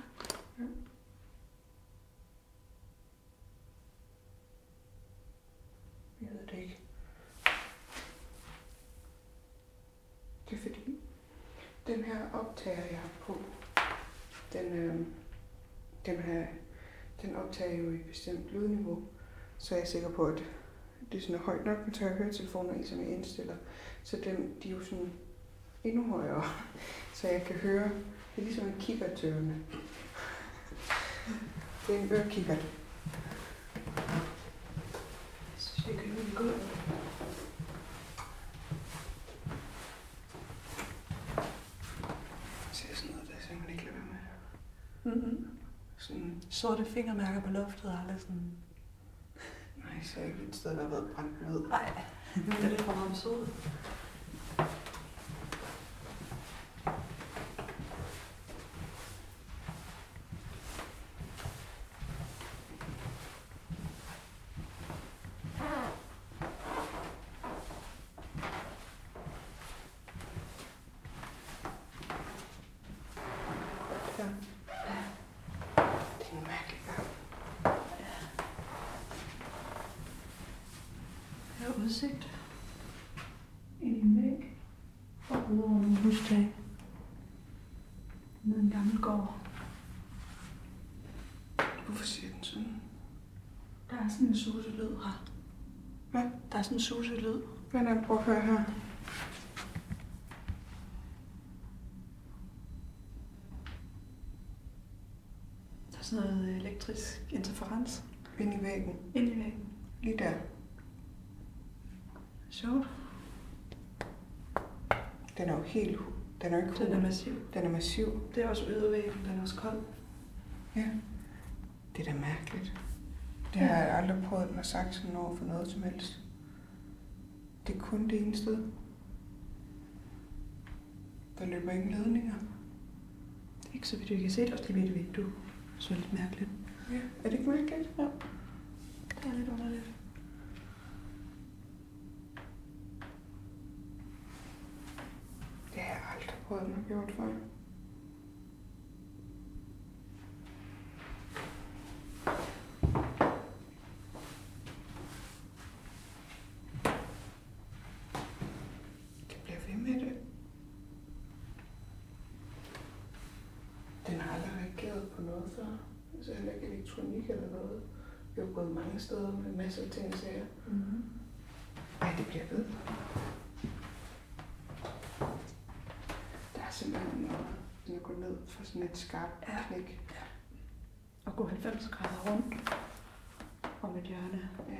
S3: Jeg ved det ikke. Det er fordi, den her optager, jeg har på, den, øh, den, her, den optager jo i et bestemt lydniveau. Så er jeg sikker på, at det er sådan højt nok, men så har jeg høretelefoner i, som jeg indstiller. Så dem, de er jo sådan endnu højere, så jeg kan høre. Det er ligesom en kikkertøvende. Det er en ørekikkert.
S4: Jeg synes, det gyngede i gulvet.
S3: Så sådan noget, der er simpelthen ikke lade være med.
S4: Mm-hmm.
S3: Sådan,
S4: Sorte fingermærker på loftet og aldrig sådan...
S3: nej, så er jeg ikke et sted, der har været brændt ned.
S4: Nej, det er lidt for meget sod.
S3: Det er en mærkelig gang.
S4: udsigt ind i en væg og ud over nogle hustage ned ad en gammel gård.
S3: Hvorfor siger den sådan?
S4: Der er sådan en suselyd her.
S3: Hvad?
S4: Der er sådan en suselyd.
S3: Hvad er det, prøv at høre her?
S4: Der er sådan noget øh, elektrisk interferens
S3: Ind i væggen.
S4: ind i væggen.
S3: Lige der.
S4: Sjovt.
S3: Den er jo helt... hu- Den er jo ikke
S4: Den er
S3: hul.
S4: massiv.
S3: Den er massiv.
S4: Det er også ydervæggen, den er også kold.
S3: Det er da mærkeligt. Det har jeg aldrig prøvet den at sagt sådan over for noget som helst. Det er kun det ene sted. Der løber ingen ledninger.
S4: Ikke så vidt vi kan se, det er også lige ved et vindue. Så er det lidt mærkeligt.
S3: Ja. Er det ikke mærkeligt? Ja.
S4: Det er lidt underligt.
S3: Det har jeg aldrig prøvet den at gjort før. Det bliver ved med det. Den har aldrig reageret på noget før. Altså heller ikke elektronik eller noget. Vi har gået mange steder med masser af ting og sager.
S4: Mm-hmm.
S3: Ej, det bliver ved. Der er simpelthen noget, den er gået ned for sådan et skarpt
S4: Ja.
S3: knæk.
S4: Og gå 90 grader rundt om et hjørne.
S3: Ja.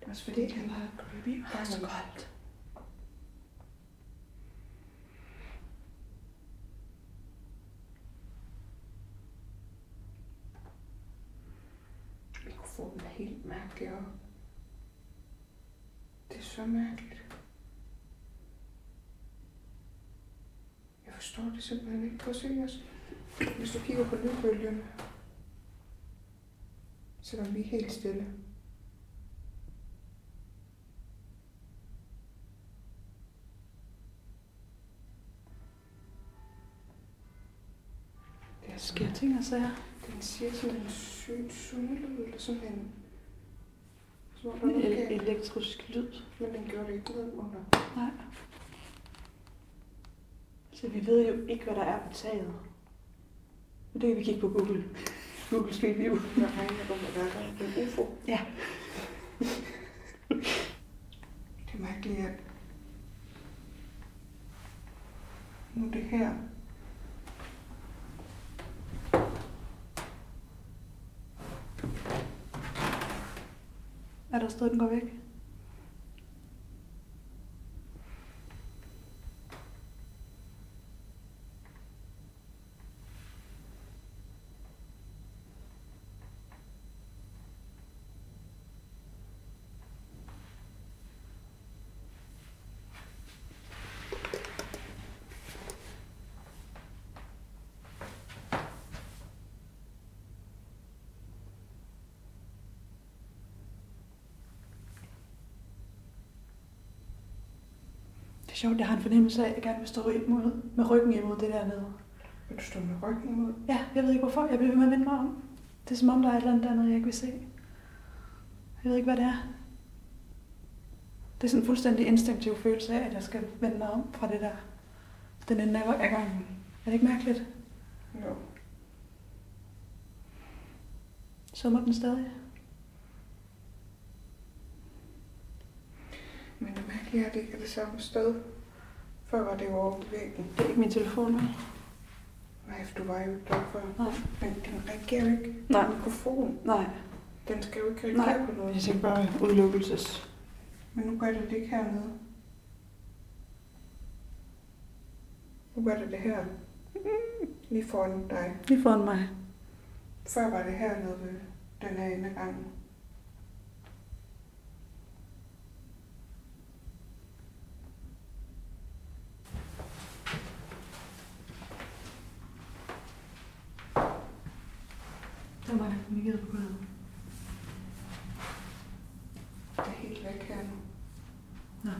S3: Det er også fordi,
S4: Det er
S3: han,
S4: bare creepy. Og det er så koldt.
S3: mikrofonen er helt mærkelig, og det er så mærkeligt. Jeg forstår det simpelthen ikke. Prøv at se os. Hvis du kigger på lydbølgerne, selvom vi er helt stille. Det er så
S4: Sker ting og sager.
S3: den siger sådan en syg sundelyd, eller sådan en... Som om der var noget
S4: E-
S3: galt,
S4: elektrisk lyd.
S3: men den gjorde det ikke ned under.
S4: Nej. Så Altså, vi ved jo ikke, hvad der er på taget. Men det kan vi kigge på Google. Google Street View.
S3: Jeg regner på, at der er en ufo.
S4: Ja.
S3: det er mærkeligt, at... Nu er det her.
S4: Er der sted, den går væk? Det er sjovt, jeg har en fornemmelse af, at jeg gerne vil stå imod, med ryggen imod det dernede.
S3: Vil du stå med ryggen mod?
S4: Ja, jeg ved ikke hvorfor. Jeg bliver ved med at vende mig om. Det er som om, der er et eller andet dernede, jeg ikke vil se. Jeg ved ikke, hvad det er. Det er sådan en fuldstændig instinktiv følelse af, at jeg skal vende mig om fra det der. Den ende af gangen. Er det ikke mærkeligt?
S3: Jo.
S4: Summer den stadig?
S3: Men det mærkelige er, at det ikke er det samme sted. Før var det jo over på væggen.
S4: Det er ikke min telefon, vel?
S3: Nej, for du var jo ikke der før.
S4: Nej.
S3: Men den reagerer jo ikke.
S4: Nej.
S3: Mikrofonen,
S4: Nej.
S3: den skal jo ikke reagere
S4: Nej.
S3: på noget.
S4: Jeg tænker bare udelukkelses.
S3: Men nu gør det det ikke hernede. Nu gør det det her. Lige foran dig.
S4: Lige foran mig.
S3: Før var det hernede ved den her ende af gangen.
S4: Det var mig, der kommunikeret på gulvet.
S3: Det er helt væk her nu.
S4: Nå.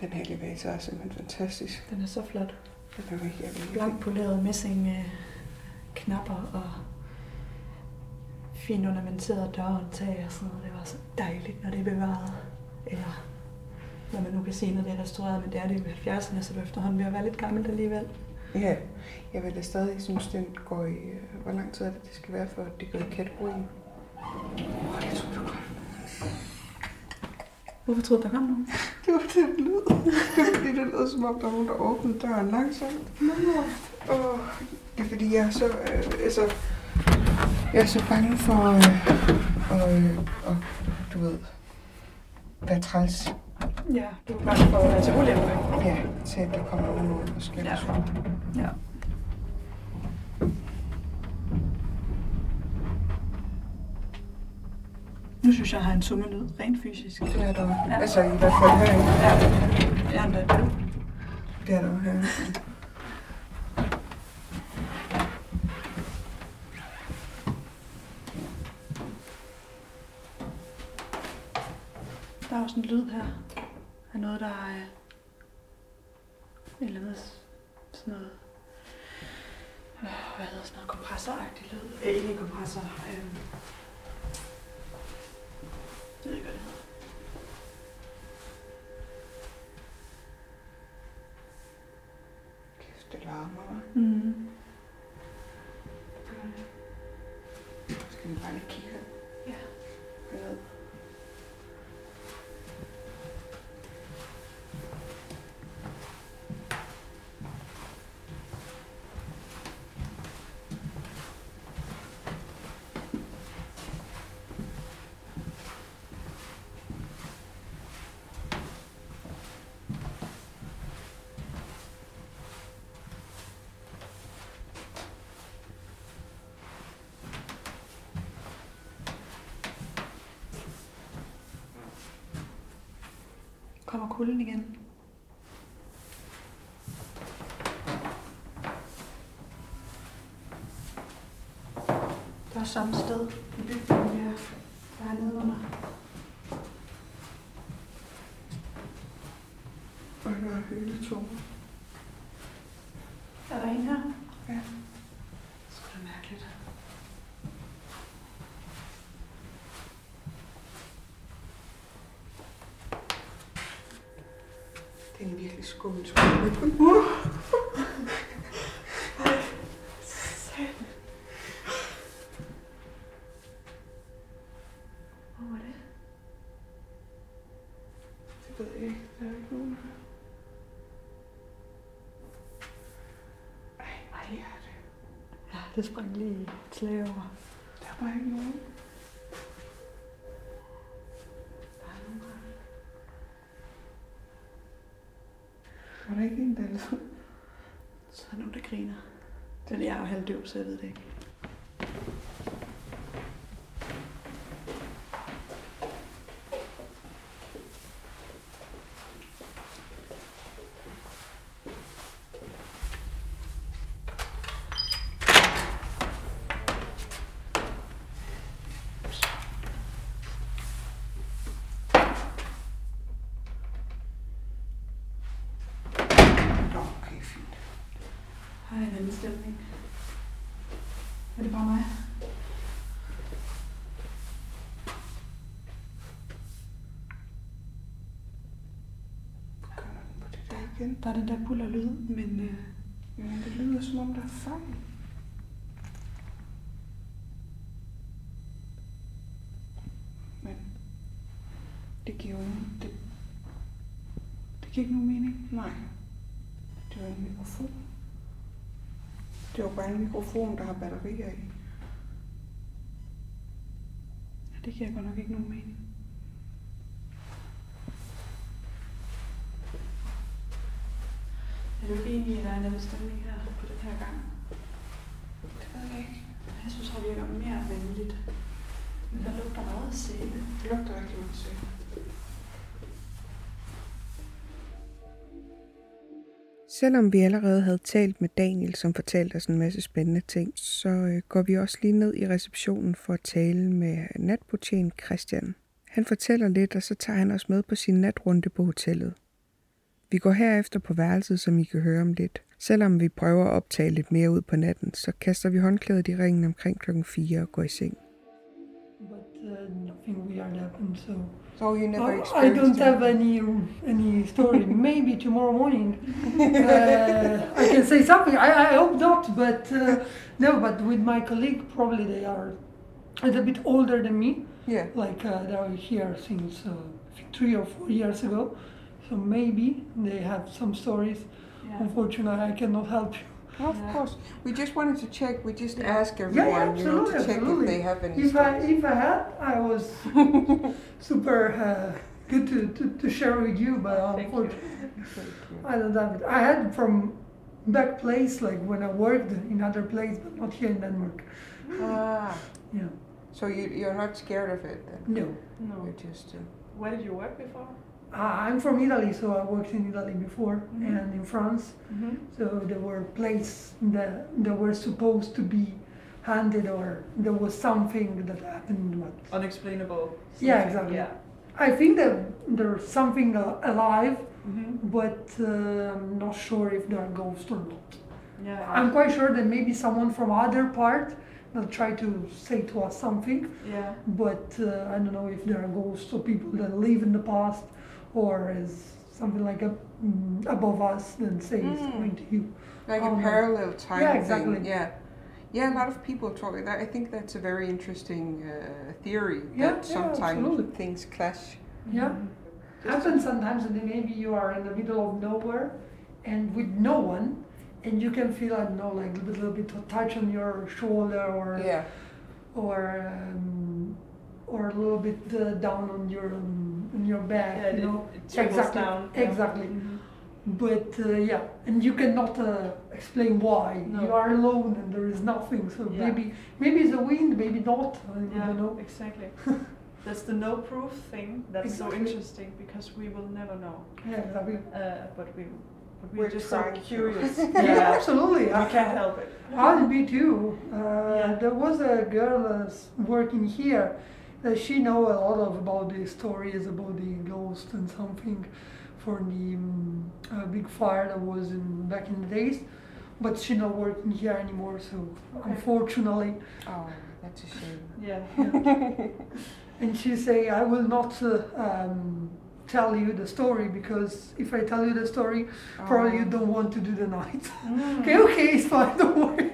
S3: Den her elevator er simpelthen fantastisk.
S4: Den er så flot.
S3: Den er jo helt
S4: Blank poleret messing øh, knapper og fint ornamenterede dørhåndtag og sådan noget. Det var så dejligt, når det er bevaret. Eller når man nu kan se, når det er restaureret, men det er det jo i 70'erne, så det er efterhånden ved at være lidt gammelt alligevel.
S3: Ja, jeg vil da stadig synes, den går i... øh, Hvor lang tid er det, det skal være, for at det går i kategorien? Åh, oh, jeg tror, du kom.
S4: Hvorfor troede du, der kom nogen?
S3: Det var den lyd. Det var fordi, det lød som om, der var nogen, der åbnede døren langsomt. Og det er fordi, jeg er så... Øh, altså, jeg er så bange for... Øh, og, øh, og, du ved... Hvad træls.
S4: Ja, du er bange for at være til ulempe.
S3: Ja, til at der kommer nogen ud og skælder ja.
S4: Ja. Nu synes jeg, jeg har en summe lyd, rent fysisk.
S3: Det er der jo. Altså, i hvert fald herinde.
S4: Ja, jeg er endda
S3: Det er der jo herinde.
S4: Der er også en lyd her af noget, der er øh, et eller andet s- sådan noget, øh, hvad hedder sådan noget, kompressoragtig lyd. Øh, ikke kompressor, øh, jeg ved ikke, hvad det hedder.
S3: Kæft, det larmer, hva'?
S4: Mm.
S3: Skal vi bare lige kigge her?
S4: Ja.
S3: Jeg ved.
S4: Kommer kulden igen? Det er også samme sted i bygningen, jeg der er nede under.
S3: Og jeg hører hele to.
S4: Er der en her?
S3: Ja.
S4: Det skulle da mærkeligt.
S3: Det er en virkelig skummel skole.
S4: Hvor var det?
S3: Det ved jeg ikke. Der er ikke nogen her. Ej, hvor er det.
S4: Ja, det sprang lige et slag over.
S3: Der er bare ikke nogen. Var der ikke en, der ligesom- lød?
S4: Så er der nogen, der griner. Men jeg er jo halvdøv, så jeg ved det ikke.
S3: Nå, okay, fint.
S4: Har jeg en anden stemning? Er det bare mig?
S3: Kommer den på det der igen?
S4: Der er den der buller lyd, men øh,
S3: Men det lyder som om, der er fejl. Men det giver jo ingen... Det, det giver ikke nogen mening. Nej. Det var en mikrofon. Det var bare en mikrofon, der har batterier i.
S4: det giver godt nok ikke nogen mening. Er du ikke enig i, at der er en anden stemning her på den her gang?
S3: Det ved jeg ikke.
S4: Jeg synes, det virker mere venligt. Men der lugter meget af sæbe.
S3: Det lugter rigtig meget sødt.
S7: Selvom vi allerede havde talt med Daniel, som fortalte os en masse spændende ting, så øh, går vi også lige ned i receptionen for at tale med natbetjent Christian. Han fortæller lidt, og så tager han os med på sin natrunde på hotellet.
S8: Vi går herefter på værelset, som I kan høre om lidt. Selvom vi prøver at optage lidt mere ud på natten, så kaster vi håndklædet i ringen omkring klokken 4 og går i seng.
S9: But uh, nothing weird happened, so
S3: So you never
S9: Oh, I-
S3: experienced
S9: I don't
S3: it.
S9: have any any story. Maybe tomorrow morning uh, I can say something. I, I hope not, but uh, no. But with my colleague, probably they are a little bit older than me.
S3: Yeah.
S9: Like uh, they are here since uh, I think three or four years ago, so maybe they have some stories. Unfortunately, I cannot help you.
S3: Of course. We just wanted to check. We just ask
S9: Yeah,
S3: everyone,
S9: yeah,
S3: you know,
S9: absolutely,
S3: to check
S9: absolutely.
S3: if they have any
S9: If I,
S3: stories.
S9: if I had, I was super uh, good to, to, to share with you, but unfortunately, I don't have it. I had from back place, like when I worked in other place, but not here in Denmark.
S3: Ah,
S9: Yeah,
S3: so you, you're not scared of it then?
S9: no.
S3: You're
S1: No.
S3: just, uh,
S1: Where did you work before?
S9: I- I'm from Italy, so I worked in Italy before and in France.
S1: Mm-hmm.
S9: So there were places that, that were supposed to be handed, or there was something that happened, but
S1: Unexplainable.
S9: Yeah, exactly.
S1: Oh, Yeah.
S9: I think that there's something al- alive,
S1: Mm-hmm.
S9: but uh, I'm not sure if they're ghosts or not.
S1: Yeah.
S9: I'm quite sure that maybe someone from other part will try to say to us something,
S1: yeah.
S9: but uh, I don't know if there are ghosts or people that live in the past, or is something like a, mm, above us and say something to you.
S3: like
S9: Oh,
S3: a
S9: no.
S3: parallel time
S9: Yeah,
S3: thing.
S9: exactly.
S3: Yeah. Yeah, a lot of people talk. That, I think that's a very interesting uh, theory
S9: Yeah, yeah,
S3: that sometimes
S9: absolutely.
S3: things clash.
S9: Yeah, happens sometimes, and then maybe you are in the middle of nowhere, and with no one, and you can feel I don't know like a little bit of touch on your shoulder or
S3: Yeah.
S9: or um, or a little bit uh, down on your um, on your back,
S1: Yeah,
S9: you
S1: it-
S9: know.
S1: it trickles
S9: exactly,
S1: down, yeah. Mm-hmm.
S9: exactly. But uh, yeah, and you cannot uh, explain why
S1: No.
S9: you are alone and there is nothing. So
S1: Yeah.
S9: maybe maybe it's the wind, maybe not. I
S1: Yeah,
S9: don't know.
S1: exactly. That's the no proof thing. That's
S9: Exactly.
S1: so interesting because we will never know.
S9: Yeah, exactly.
S1: Uh, but we, but we're,
S3: We're
S1: just so
S3: trying to.
S1: curious.
S9: Yeah, absolutely.
S1: we can't help it.
S9: I'll be too. Uh, There was a girl that's working here. Uh, she know a lot of about the stories about the ghost and something for the um, uh, big fire that was in back in the days. But she not working here anymore, so unfortunately.
S3: Oh, that's a shame.
S1: Yeah.
S9: And she say, I will not uh, um, tell you the story because if I tell you the story, probably
S3: Oh.
S9: you don't want to do the night.
S3: Mm.
S9: okay, okay, it's fine, don't worry.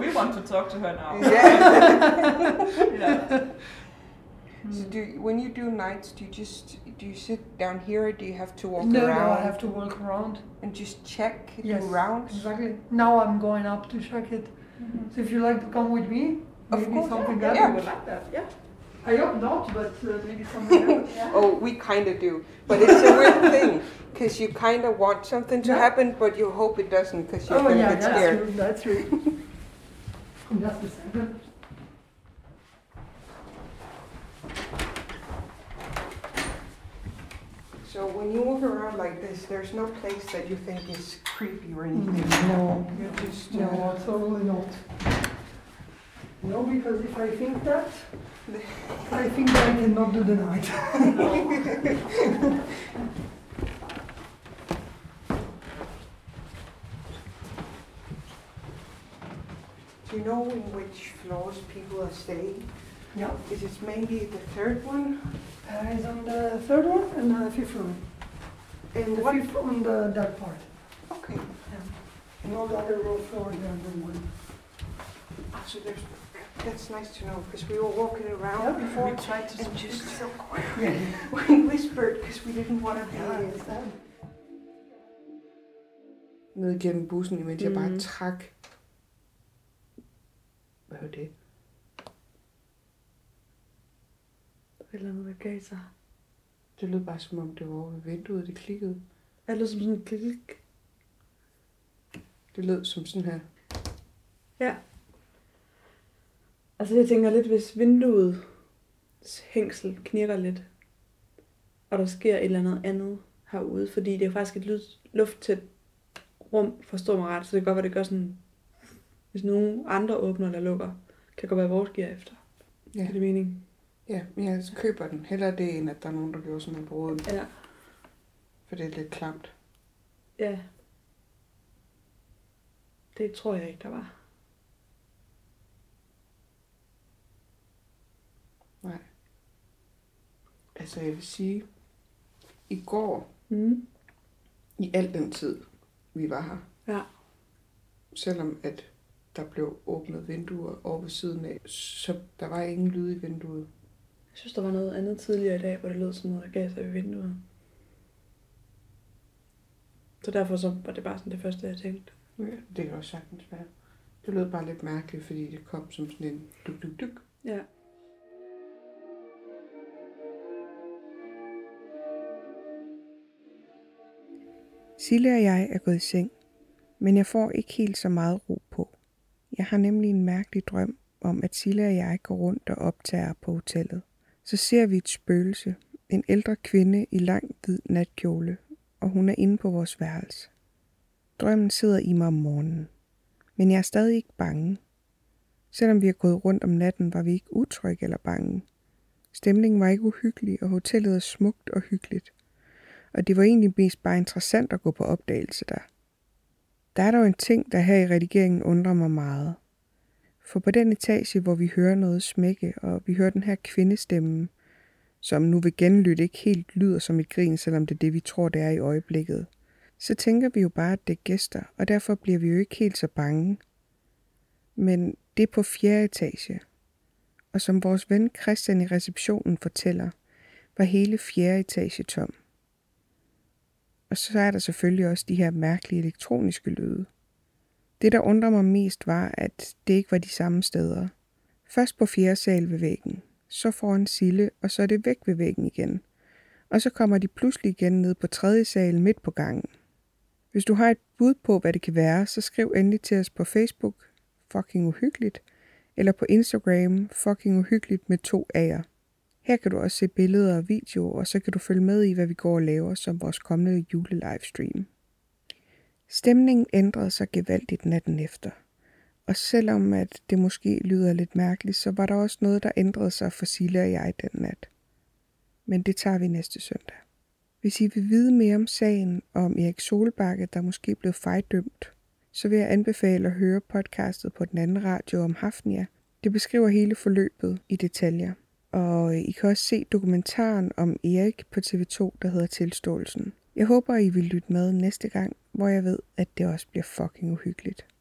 S1: we want to talk to her now.
S3: Yeah.
S1: yeah.
S3: so do when you do nights, do you just do you sit down here? Or do you have to walk
S9: No, no,
S3: around
S9: I have to walk around.
S3: and just check
S9: Yes,
S3: do rounds?
S9: Exactly. Now I'm going up to check it. So if you like to come with me,
S3: Mm-hmm. Of
S9: maybe
S3: course,
S9: something
S3: yeah,
S9: happens.
S1: would like that. Yeah.
S9: I hope not, but uh, maybe something happens.
S3: Oh, we kind of do, but it's a weird thing because you kind of want something to
S9: Yeah.
S3: happen, but you hope it doesn't because you're
S9: oh
S3: gonna
S9: yeah,
S3: get
S9: that's
S3: scared.
S9: true. That's true. Just a second.
S3: So when you walk around like this, there's no place that you think is creepy or anything.
S9: Mm-hmm. No,
S3: You just uh,
S9: no, absolutely not. No, because if I think that, I think that I cannot do the night.
S3: do you know in which floors people are staying?
S9: yeah.
S3: Is it mainly the third one?
S9: Uh, it's on the third one and the fifth one. And the fifth on the dark part.
S3: Okay.
S9: And all the other row floors are the one.
S3: ah, So there's that's nice to know because we were walking around
S9: Yeah.
S3: before
S1: We tried to.
S3: and just so quiet.
S9: Yeah.
S3: We whispered because we didn't want to be. Ned gennem bussen, imens jeg bare trak. Hvad var det?
S4: Et eller andet, der gav sig.
S3: Det lød bare som om det var over ved vinduet, det klikkede.
S4: Eller som sådan en klik.
S3: Det lød som sådan her.
S4: Altså jeg tænker lidt, hvis vinduets hængsel knirker lidt, og der sker et eller andet andet herude, fordi det er jo faktisk et lyd, lufttæt rum, forstår mig ret, så det kan godt være, det gør sådan, hvis nogen andre åbner eller lukker, kan det godt være, at vores giver efter.
S3: Ja.
S4: Ja. Giver det mening?
S3: Ja, men jeg køber den. Hellere det, end at der er nogen, der gjorde sådan en brud.
S4: Ja.
S3: For
S10: For det er lidt klamt.
S4: Ja. Det tror jeg ikke, der var.
S10: Altså jeg vil sige, i går,
S4: Mm.
S10: i al den tid, vi var her,
S4: Ja.
S10: selvom at der blev åbnet vinduer over ved siden af, så der var ingen lyd i vinduet.
S4: Jeg synes, der var noget andet tidligere i dag, hvor det lød som noget, der gav sig ved vinduet. Så derfor så var det bare sådan det første, jeg tænkte.
S10: Ja, det kan også sagtens være. Det lød bare lidt mærkeligt, fordi det kom som sådan en duk duk duk.
S4: Ja.
S3: Sille og jeg er gået i seng, men jeg får ikke helt så meget ro på. Jeg har nemlig en mærkelig drøm om, at Sille og jeg går rundt og optager på hotellet. Så ser vi et spøgelse, en ældre kvinde i lang hvid natkjole, og hun er inde på vores værelse. Drømmen sidder i mig om morgenen, men jeg er stadig ikke bange. Selvom vi har gået rundt om natten, var vi ikke utrygge eller bange. Stemningen var ikke uhyggelig, og hotellet er smukt og hyggeligt og det var egentlig mest bare interessant at gå på opdagelse der. Der er dog en ting, der her i redigeringen undrer mig meget. For på den etage, hvor vi hører noget smække, og vi hører den her kvindestemme, som nu ved genlyt ikke helt lyder som et grin, selvom det er det, vi tror, det er i øjeblikket, så tænker vi jo bare, at det er gæster, og derfor bliver vi jo ikke helt så bange. Men det er på fjerde etage. Og som vores ven Christian i receptionen fortæller, var hele fjerde etage tom. Og så er der selvfølgelig også de her mærkelige elektroniske lyde. Det, der undrer mig mest, var, at det ikke var de samme steder. Først på fjerde sal ved væggen, så foran Sille, og så er det væk ved væggen igen. Og så kommer de pludselig igen ned på tredje sal midt på gangen. Hvis du har et bud på, hvad det kan være, så skriv endelig til os på Facebook, fucking uhyggeligt, eller på Instagram, fucking uhyggeligt med to A'er. Her kan du også se billeder og videoer, og så kan du følge med i, hvad vi går og laver som vores kommende julelivestream. Stemningen ændrede sig gevaldigt natten efter. Og selvom at det måske lyder lidt mærkeligt, så var der også noget, der ændrede sig for Silla og jeg den nat. Men det tager vi næste søndag. Hvis I vil vide mere om sagen og om Erik Solbakke, der måske blev fejdømt, så vil jeg anbefale at høre podcastet på den anden radio om Hafnia. Det beskriver hele forløbet i detaljer. Og I kan også se dokumentaren om Erik på TV2, der hedder Tilståelsen. Jeg håber, I vil lytte med næste gang, hvor jeg ved, at det også bliver fucking uhyggeligt.